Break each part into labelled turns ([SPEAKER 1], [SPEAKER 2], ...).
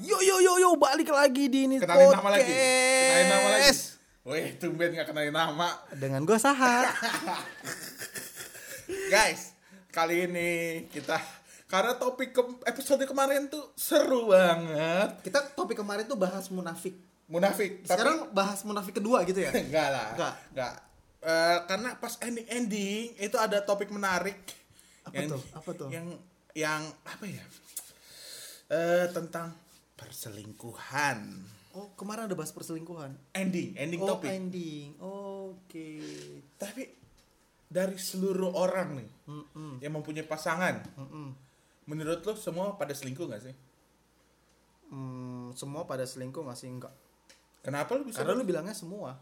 [SPEAKER 1] Yo yo yo yo balik lagi di ini
[SPEAKER 2] Kenalin nama lagi. Kenalin nama lagi. Weh, tumben gak kenalin nama.
[SPEAKER 1] Dengan gue Sahat.
[SPEAKER 2] Guys, kali ini kita karena topik ke- episode kemarin tuh seru banget.
[SPEAKER 3] Kita topik kemarin tuh bahas munafik.
[SPEAKER 2] Munafik. tapi-
[SPEAKER 3] Sekarang bahas munafik kedua gitu ya.
[SPEAKER 2] enggak lah.
[SPEAKER 3] Enggak.
[SPEAKER 2] Enggak. Eh, karena pas ending-ending itu ada topik menarik.
[SPEAKER 3] Apa tuh? Apa tuh?
[SPEAKER 2] Yang yang apa ya? Eh tentang perselingkuhan.
[SPEAKER 3] Oh, kemarin ada bahas perselingkuhan.
[SPEAKER 2] Ending, ending
[SPEAKER 3] Oh,
[SPEAKER 2] topik.
[SPEAKER 3] ending. Oke.
[SPEAKER 2] Tapi dari seluruh orang nih yang mempunyai pasangan,
[SPEAKER 3] Mm-mm.
[SPEAKER 2] menurut lo semua pada selingkuh gak sih?
[SPEAKER 3] Hmm, semua pada selingkuh nggak sih enggak?
[SPEAKER 2] Kenapa lu bisa?
[SPEAKER 3] Karena lu bilangnya semua.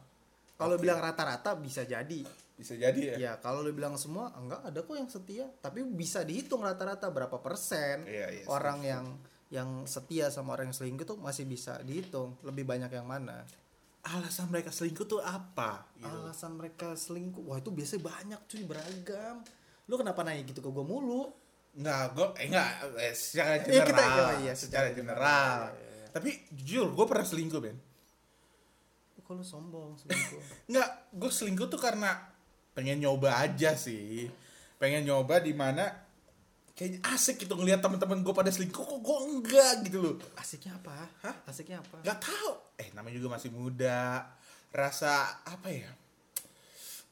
[SPEAKER 3] Kalau bilang rata-rata bisa jadi.
[SPEAKER 2] bisa jadi ya.
[SPEAKER 3] Ya, kalau lu bilang semua enggak ada kok yang setia, tapi bisa dihitung rata-rata berapa persen
[SPEAKER 2] Iya, iya,
[SPEAKER 3] orang yang yang setia sama orang yang selingkuh tuh masih bisa dihitung lebih banyak yang mana.
[SPEAKER 2] Alasan mereka selingkuh tuh
[SPEAKER 3] Ah.
[SPEAKER 2] apa? Gitu.
[SPEAKER 3] alasan mereka selingkuh wah itu biasanya banyak cuy beragam lu kenapa nanya gitu ke gue mulu
[SPEAKER 2] Nggak, gue eh, nggak eh, secara
[SPEAKER 3] Iya,
[SPEAKER 2] general.
[SPEAKER 3] kita- iya, iya,
[SPEAKER 2] secara
[SPEAKER 3] secara
[SPEAKER 2] general.
[SPEAKER 3] general, iya,
[SPEAKER 2] Tapi jujur, gue pernah selingkuh Ben.
[SPEAKER 3] kok lu sombong selingkuh
[SPEAKER 2] Nggak, gue selingkuh tuh karena pengen nyoba aja sih. Pengen nyoba di mana kayaknya asik gitu ngelihat teman-teman gue pada selingkuh kok gue enggak gitu loh.
[SPEAKER 3] asiknya apa
[SPEAKER 2] Hah?
[SPEAKER 3] asiknya apa
[SPEAKER 2] Nggak tahu. Eh namanya juga masih muda. Rasa apa ya?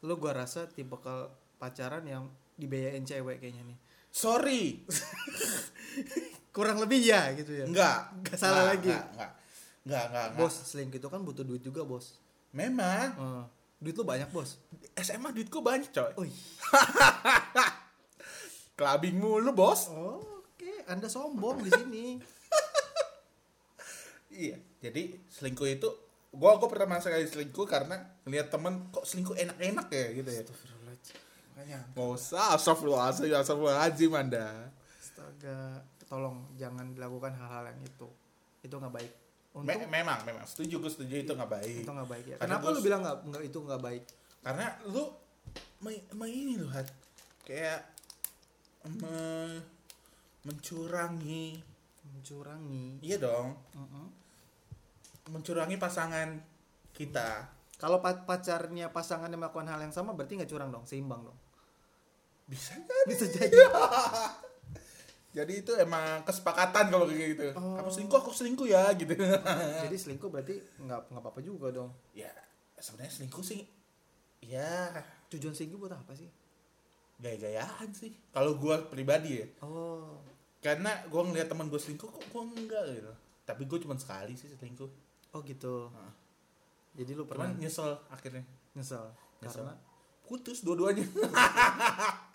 [SPEAKER 3] lu gue rasa tipe kal pacaran yang dibiayain cewek kayaknya nih
[SPEAKER 2] Sorry,
[SPEAKER 3] kurang lebih ya gitu ya
[SPEAKER 2] enggak,
[SPEAKER 3] Nggak salah lagi.
[SPEAKER 2] enggak, enggak, enggak, enggak, enggak.
[SPEAKER 3] bos selingkuh itu kan butuh duit juga bos
[SPEAKER 2] Memang
[SPEAKER 3] Eh, duit lu banyak bos
[SPEAKER 2] SMA duitku banyak coy.
[SPEAKER 3] Wih.
[SPEAKER 2] Clubbing mulu bos.
[SPEAKER 3] oke anda sombong di sini
[SPEAKER 2] Iya. Jadi selingkuh itu gua gua pertama kali selingkuh karena ngeliat temen kok selingkuh enak-enak ya gitu ya.
[SPEAKER 3] Makanya,
[SPEAKER 2] Nggak usah astagfirullahaladzim, astagfirullahaladzim anda.
[SPEAKER 3] astaga tolong jangan dilakukan hal-hal yang itu itu nggak baik
[SPEAKER 2] Me-
[SPEAKER 3] untuk
[SPEAKER 2] memang, memang. Setuju, gue setuju itu nggak baik.
[SPEAKER 3] itu nggak baik ya
[SPEAKER 2] Karena
[SPEAKER 3] kenapa
[SPEAKER 2] gua-
[SPEAKER 3] lu bilang nggak nggak- itu nggak baik
[SPEAKER 2] Karena lu, me, me ini lu hat, kayak me- mencurangi.
[SPEAKER 3] mencurangi
[SPEAKER 2] Iya dong, mencurangi pasangan kita.
[SPEAKER 3] kalau pa- pacarnya pasangannya melakukan hal yang sama berarti nggak curang dong seimbang dong
[SPEAKER 2] Bisa
[SPEAKER 3] bisa jadi
[SPEAKER 2] Jadi itu emang kesepakatan kalau kayak gitu. Kamu selingkuh, aku selingkuh ya gitu.
[SPEAKER 3] jadi selingkuh berarti nggak nggak apa apa juga dong
[SPEAKER 2] ya sebenarnya selingkuh sih ya
[SPEAKER 3] tujuan selingkuh buat apa sih
[SPEAKER 2] gaya-gayaan sih. Kalau gua pribadi ya,
[SPEAKER 3] oh
[SPEAKER 2] karena gua ngeliat teman gua selingkuh kok gua enggak gitu. Tapi gua cuma sekali sih selingkuh.
[SPEAKER 3] oh gitu
[SPEAKER 2] Heeh.
[SPEAKER 3] jadi lu pernah
[SPEAKER 2] Cuman nyesel akhirnya.
[SPEAKER 3] nyesel
[SPEAKER 2] Nyesel.
[SPEAKER 3] karena
[SPEAKER 2] Putus dua-duanya.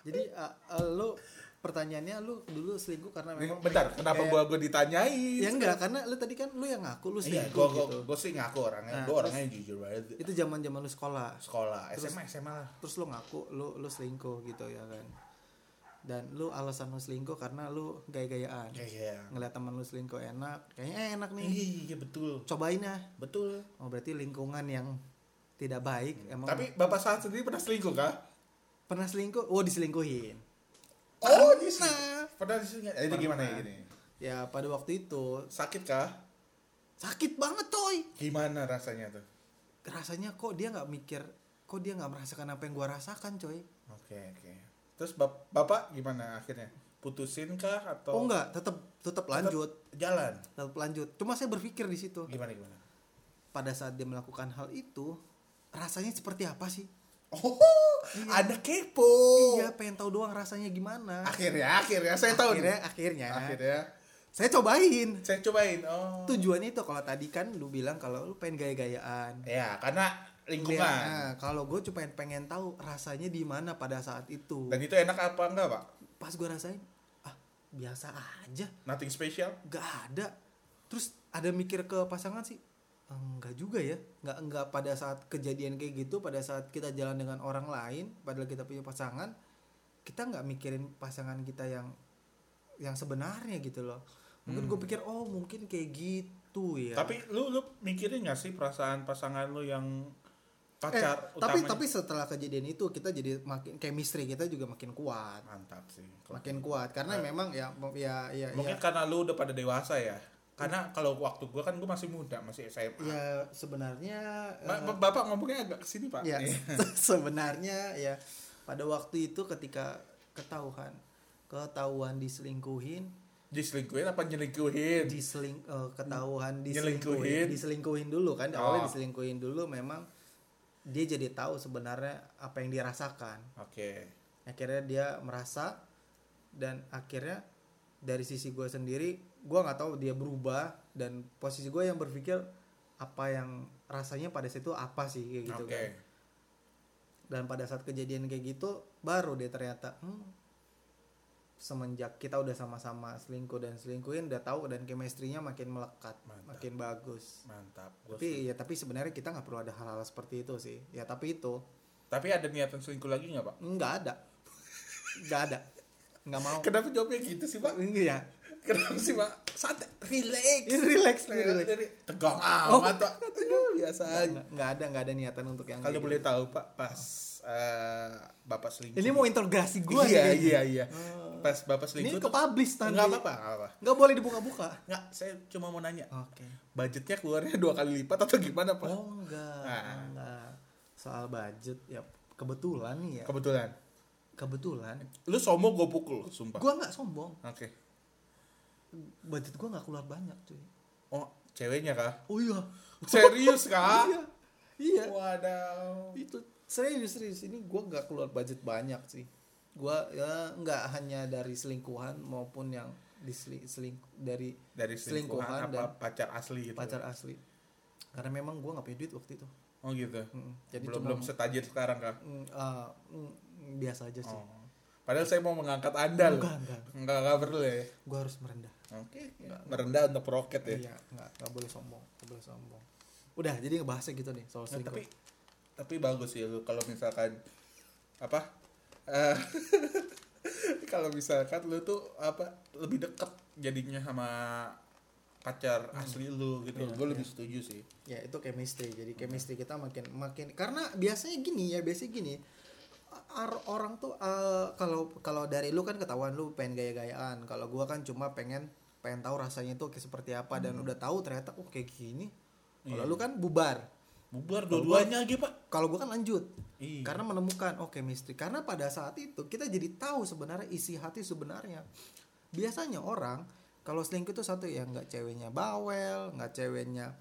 [SPEAKER 3] jadi eh, eh, lu pertanyaannya lu dulu selingkuh karena memang
[SPEAKER 2] Bentar, kenapa
[SPEAKER 3] Kayak-
[SPEAKER 2] gua gua ditanyain?
[SPEAKER 3] Iya. ya enggak karena lu tadi kan lu yang ngaku lu
[SPEAKER 2] Iya,
[SPEAKER 3] selingkuh
[SPEAKER 2] gua, gua,
[SPEAKER 3] gitu
[SPEAKER 2] gua sih ngaku orangnya.
[SPEAKER 3] Nah,
[SPEAKER 2] gua
[SPEAKER 3] terus-
[SPEAKER 2] orangnya jujur banget.
[SPEAKER 3] itu zaman zaman lu sekolah
[SPEAKER 2] Sekolah,
[SPEAKER 3] Terus-
[SPEAKER 2] SMA, SMA lah.
[SPEAKER 3] terus lu ngaku lu lu selingkuh gitu ya kan dan lu alasan lu selingkuh karena lu gaya-gayaan
[SPEAKER 2] Gaya-gayaan.
[SPEAKER 3] ngeliat teman lu selingkuh enak kayaknya enak nih
[SPEAKER 2] Iya, betul.
[SPEAKER 3] cobain ya
[SPEAKER 2] Betul.
[SPEAKER 3] oh berarti lingkungan yang tidak baik emang
[SPEAKER 2] Hmm, Tapi bapak saat sendiri pernah selingkuh kah?
[SPEAKER 3] pernah selingkuh oh diselingkuhin
[SPEAKER 2] Oh, bisa. Pernah diselingkuh. Eh, Itu gimana ya gini?
[SPEAKER 3] ya pada waktu itu
[SPEAKER 2] Sakit kah?
[SPEAKER 3] sakit banget coy
[SPEAKER 2] Gimana rasanya tuh?
[SPEAKER 3] rasanya kok dia nggak mikir kok dia nggak merasakan apa yang gua rasakan coy
[SPEAKER 2] Oke, oke. Terus bap- bapak gimana akhirnya? Putusin kah atau
[SPEAKER 3] oh enggak tetap tetap lanjut
[SPEAKER 2] jalan?
[SPEAKER 3] tetap lanjut cuma saya berpikir di situ
[SPEAKER 2] Gimana gimana?
[SPEAKER 3] pada saat dia melakukan hal itu rasanya seperti apa sih
[SPEAKER 2] Oh, ada kepo.
[SPEAKER 3] Iya, pengen tahu doang rasanya gimana.
[SPEAKER 2] Akhirnya, akhirnya saya tahu
[SPEAKER 3] akhirnya,
[SPEAKER 2] nih.
[SPEAKER 3] akhirnya,
[SPEAKER 2] Akhirnya
[SPEAKER 3] saya cobain.
[SPEAKER 2] saya cobain. Oh.
[SPEAKER 3] Tujuannya itu kalau tadi kan lu bilang kalau lu pengen gaya-gayaan.
[SPEAKER 2] Ya, karena lingkungan.
[SPEAKER 3] Nah, kalau gue cuma pengen, pengen tahu rasanya di mana pada saat itu.
[SPEAKER 2] Dan itu enak apa enggak, Pak?
[SPEAKER 3] Pas gue rasain, ah biasa aja,
[SPEAKER 2] Nothing special?
[SPEAKER 3] nggak ada. Terus ada mikir ke pasangan sih, enggak juga ya, nggak nggak pada saat kejadian kayak gitu, pada saat kita jalan dengan orang lain, padahal kita punya pasangan, kita nggak mikirin pasangan kita yang yang sebenarnya gitu loh mungkin gue pikir oh mungkin kayak gitu ya
[SPEAKER 2] Hmm. Tapi lu lu mikirin gak sih perasaan pasangan lu yang
[SPEAKER 3] Eh,
[SPEAKER 2] pacar utamanya?
[SPEAKER 3] tapi tapi setelah kejadian itu kita jadi makin chemistry kita juga makin kuat
[SPEAKER 2] mantap sih. Kalau-
[SPEAKER 3] makin kuat karena memang ya ya ya,
[SPEAKER 2] Nah. Mungkin
[SPEAKER 3] ya
[SPEAKER 2] karena lu udah pada dewasa ya. Karena kalau waktu gua kan gua masih muda, masih SMA.
[SPEAKER 3] ya sebenarnya
[SPEAKER 2] Ba-
[SPEAKER 3] eh,
[SPEAKER 2] ba- Bapak ngomongnya agak kesini pak.
[SPEAKER 3] ya
[SPEAKER 2] Nih.
[SPEAKER 3] sebenarnya ya pada waktu itu ketika ketahuan ketahuan diselingkuhin
[SPEAKER 2] Diselingkuhin apa nyelingkuhin?
[SPEAKER 3] diseling eh, ketahuhan
[SPEAKER 2] Nyelingkuhin.
[SPEAKER 3] diselingkuhin diselingkuhin dulu kan
[SPEAKER 2] Oh.
[SPEAKER 3] awalnya diselingkuhin dulu memang dia jadi tahu sebenarnya apa yang dirasakan
[SPEAKER 2] Oke.
[SPEAKER 3] akhirnya dia merasa dan akhirnya dari sisi gue sendiri gue nggak tahu dia berubah dan posisi gue yang berpikir apa yang rasanya pada saat itu apa sih kayak gitu
[SPEAKER 2] Oke.
[SPEAKER 3] kan dan pada saat kejadian kayak gitu baru dia ternyata hmm, semenjak kita udah sama-sama selingkuh dan selingkuhin udah tahu dan chemistry-nya makin melekat
[SPEAKER 2] Mantap.
[SPEAKER 3] makin bagus
[SPEAKER 2] Mantap. Gua
[SPEAKER 3] tapi ya tapi sebenarnya kita nggak perlu ada hal-hal seperti itu sih ya tapi itu
[SPEAKER 2] Tapi ada niatan selingkuh lagi nggak pak?
[SPEAKER 3] nggak ada nggak ada nggak mau
[SPEAKER 2] Kenapa jawabnya gitu sih pak?
[SPEAKER 3] Iya.
[SPEAKER 2] Kenapa sih pak? Santai, Iya, relax. Nah,
[SPEAKER 3] Ini relax, ini relax.
[SPEAKER 2] Tegang
[SPEAKER 3] Oh,
[SPEAKER 2] amat pak. Aduh, biasa aja.
[SPEAKER 3] Nggak- Nggak ada nggak ada niatan untuk yang
[SPEAKER 2] Kalau
[SPEAKER 3] kayak
[SPEAKER 2] boleh
[SPEAKER 3] gitu.
[SPEAKER 2] tahu pak, pas eh, bapak selingkuh.
[SPEAKER 3] Ini mau interogasi gue
[SPEAKER 2] iya,
[SPEAKER 3] nih.
[SPEAKER 2] iya, iya. Pas bapak
[SPEAKER 3] Ini
[SPEAKER 2] selingkuh.
[SPEAKER 3] ke publish nanti.
[SPEAKER 2] Enggak apa-apa, enggak apa-apa.
[SPEAKER 3] Nggak boleh dibuka-buka.
[SPEAKER 2] Enggak, saya cuma mau nanya.
[SPEAKER 3] Oke.
[SPEAKER 2] Budgetnya keluarnya dua kali lipat atau gimana, Pak?
[SPEAKER 3] Oh enggak,
[SPEAKER 2] Ah.
[SPEAKER 3] enggak. Soal budget ya kebetulan nih ya.
[SPEAKER 2] Kebetulan.
[SPEAKER 3] Kebetulan.
[SPEAKER 2] Lu somo gue pukul, sumpah. Oke.
[SPEAKER 3] Gua nggak sombong. Budget gua nggak keluar banyak cuy.
[SPEAKER 2] Oh, ceweknya kah?
[SPEAKER 3] Oh iya.
[SPEAKER 2] Serius kah?
[SPEAKER 3] Iya. Iya.
[SPEAKER 2] Wadaw.
[SPEAKER 3] Itu serius serius ini gua nggak keluar budget banyak sih. Gua ya nggak hanya dari selingkuhan maupun yang diseli, selingkuh dari
[SPEAKER 2] Dari selingkuhan
[SPEAKER 3] dan
[SPEAKER 2] apa pacar asli gitu?
[SPEAKER 3] pacar asli karena memang gue nggak punya duit waktu itu
[SPEAKER 2] Oh gitu.
[SPEAKER 3] Mm, jadi
[SPEAKER 2] belum
[SPEAKER 3] cuma-
[SPEAKER 2] belum setajir sekarang kah?
[SPEAKER 3] Mm, ah, mm, mm, biasa aja sih
[SPEAKER 2] Oh. Padahal saya mau mengangkat Anda loh.
[SPEAKER 3] enggak enggak
[SPEAKER 2] Enggak, enggak perlu ya.
[SPEAKER 3] gue harus merendah
[SPEAKER 2] Oke. Merendah untuk roket ya.
[SPEAKER 3] iya nggak nggak boleh sombong nggak boleh sombong udah jadi ngebahasnya gitu nih soal
[SPEAKER 2] Nah,
[SPEAKER 3] selingkuh
[SPEAKER 2] tapi tapi bagus ya lu kalau misalkan apa eh, kalau misalkan lu tuh apa lebih deket jadinya sama pacar asli lu gitu gue lebih setuju sih
[SPEAKER 3] ya itu chemistry jadi chemistry kita makin makin karena biasanya gini ya biasanya gini ar- orang tuh eh, kalau kalau dari lu kan ketahuan lu pengen gaya-gayaan kalau gua kan cuma pengen pengen tahu rasanya tuh kayak seperti apa dan udah tahu ternyata oh kayak gini kalau lu kan bubar
[SPEAKER 2] bubar dua-duanya lagi pak
[SPEAKER 3] kalau gue kan lanjut
[SPEAKER 2] Iya.
[SPEAKER 3] karena menemukan oke misteri karena pada saat itu kita jadi tahu sebenarnya isi hati sebenarnya biasanya orang kalau selingkuh itu satu ya nggak ceweknya bawel nggak ceweknya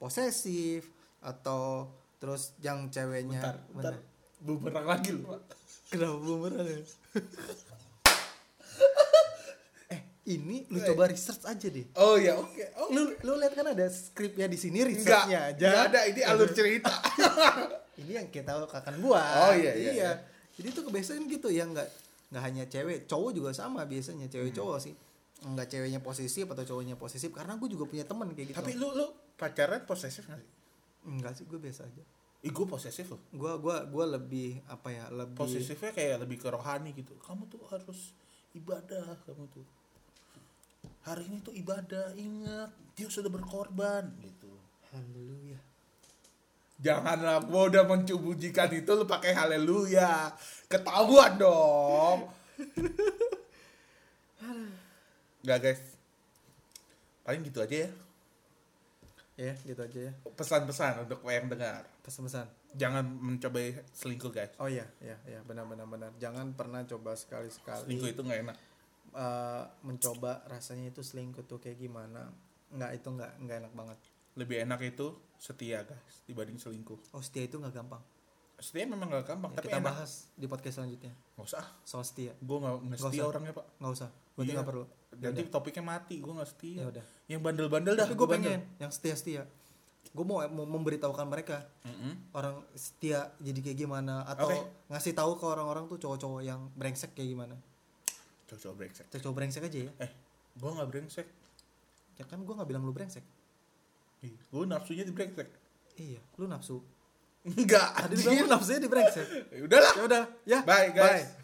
[SPEAKER 3] posesif atau terus yang ceweknya
[SPEAKER 2] bentar bentar
[SPEAKER 3] Bentar.
[SPEAKER 2] bumerang lagi lu pak
[SPEAKER 3] kenapa bumerang ya? eh ini lu coba research aja deh
[SPEAKER 2] oh ya oke Iya, oh
[SPEAKER 3] lu lu lihat kan ada skripnya di sini
[SPEAKER 2] enggak
[SPEAKER 3] researchnya aja
[SPEAKER 2] enggak ada ini alur cerita
[SPEAKER 3] ini yang kita akan
[SPEAKER 2] Oh,
[SPEAKER 3] buat
[SPEAKER 2] iya, iya, iya.
[SPEAKER 3] jadi itu kebiasaan gitu ya nggak nggak hanya cewek cowok juga sama biasanya
[SPEAKER 2] Hmm.
[SPEAKER 3] cewek cowok sih nggak ceweknya posesif atau cowoknya posesif karena gue juga punya temen kayak gitu
[SPEAKER 2] tapi lu lu pacaran posesif nggak sih
[SPEAKER 3] enggak sih gue biasa aja
[SPEAKER 2] Ih, gue posesif loh
[SPEAKER 3] gue gua gua lebih apa ya
[SPEAKER 2] Iya.
[SPEAKER 3] lebih
[SPEAKER 2] posesifnya kayak lebih ke rohani gitu kamu tuh harus ibadah kamu tuh hari ini tuh ibadah ingat dia sudah berkorban gitu
[SPEAKER 3] haleluya
[SPEAKER 2] janganlah gua udah mencubujikan itu lu pakai haleluya ketahuan dong nggak guys paling gitu aja ya
[SPEAKER 3] ya gitu aja ya
[SPEAKER 2] pesan-pesan untuk yang dengar
[SPEAKER 3] pesan-pesan
[SPEAKER 2] jangan mencoba selingkuh guys
[SPEAKER 3] oh iya iya iya benar benar benar jangan pernah coba sekali sekali
[SPEAKER 2] selingkuh itu nggak enak
[SPEAKER 3] eh, mencoba rasanya itu selingkuh tuh kayak gimana nggak itu nggak nggak enak banget
[SPEAKER 2] lebih enak itu setia guys dibanding selingkuh
[SPEAKER 3] oh setia itu nggak gampang
[SPEAKER 2] setia memang gak gampang
[SPEAKER 3] Ya,
[SPEAKER 2] tapi
[SPEAKER 3] kita
[SPEAKER 2] enak
[SPEAKER 3] bahas di podcast selanjutnya
[SPEAKER 2] Gak usah.
[SPEAKER 3] soal setia
[SPEAKER 2] Gue gak, nggak
[SPEAKER 3] Nggak
[SPEAKER 2] setia
[SPEAKER 3] usah.
[SPEAKER 2] orangnya pak.
[SPEAKER 3] nggak usah berarti
[SPEAKER 2] Iya.
[SPEAKER 3] nggak perlu
[SPEAKER 2] Nanti topiknya mati. Gue gak setia.
[SPEAKER 3] ya udah
[SPEAKER 2] Yang bandel-bandel dah.
[SPEAKER 3] tapi gue pengen yang setia setia gue mau mau memberitahukan mereka
[SPEAKER 2] Mm-mm.
[SPEAKER 3] orang setia jadi kayak gimana atau
[SPEAKER 2] Oke.
[SPEAKER 3] ngasih tahu ke orang-orang tuh cowok-cowok yang brengsek kayak gimana
[SPEAKER 2] Coba-coba brengsek.
[SPEAKER 3] cowok-cowok brengsek aja ya
[SPEAKER 2] Eh, gue gak brengsek.
[SPEAKER 3] ya kan gue nggak bilang lu brengsek
[SPEAKER 2] Gue nafsunya di brengsek.
[SPEAKER 3] iya lu nafsu
[SPEAKER 2] Enggak.
[SPEAKER 3] tadi lu bilang lu nafsunya di brengsek
[SPEAKER 2] Udahlah.
[SPEAKER 3] ya udah ya
[SPEAKER 2] Iya. Bye guys.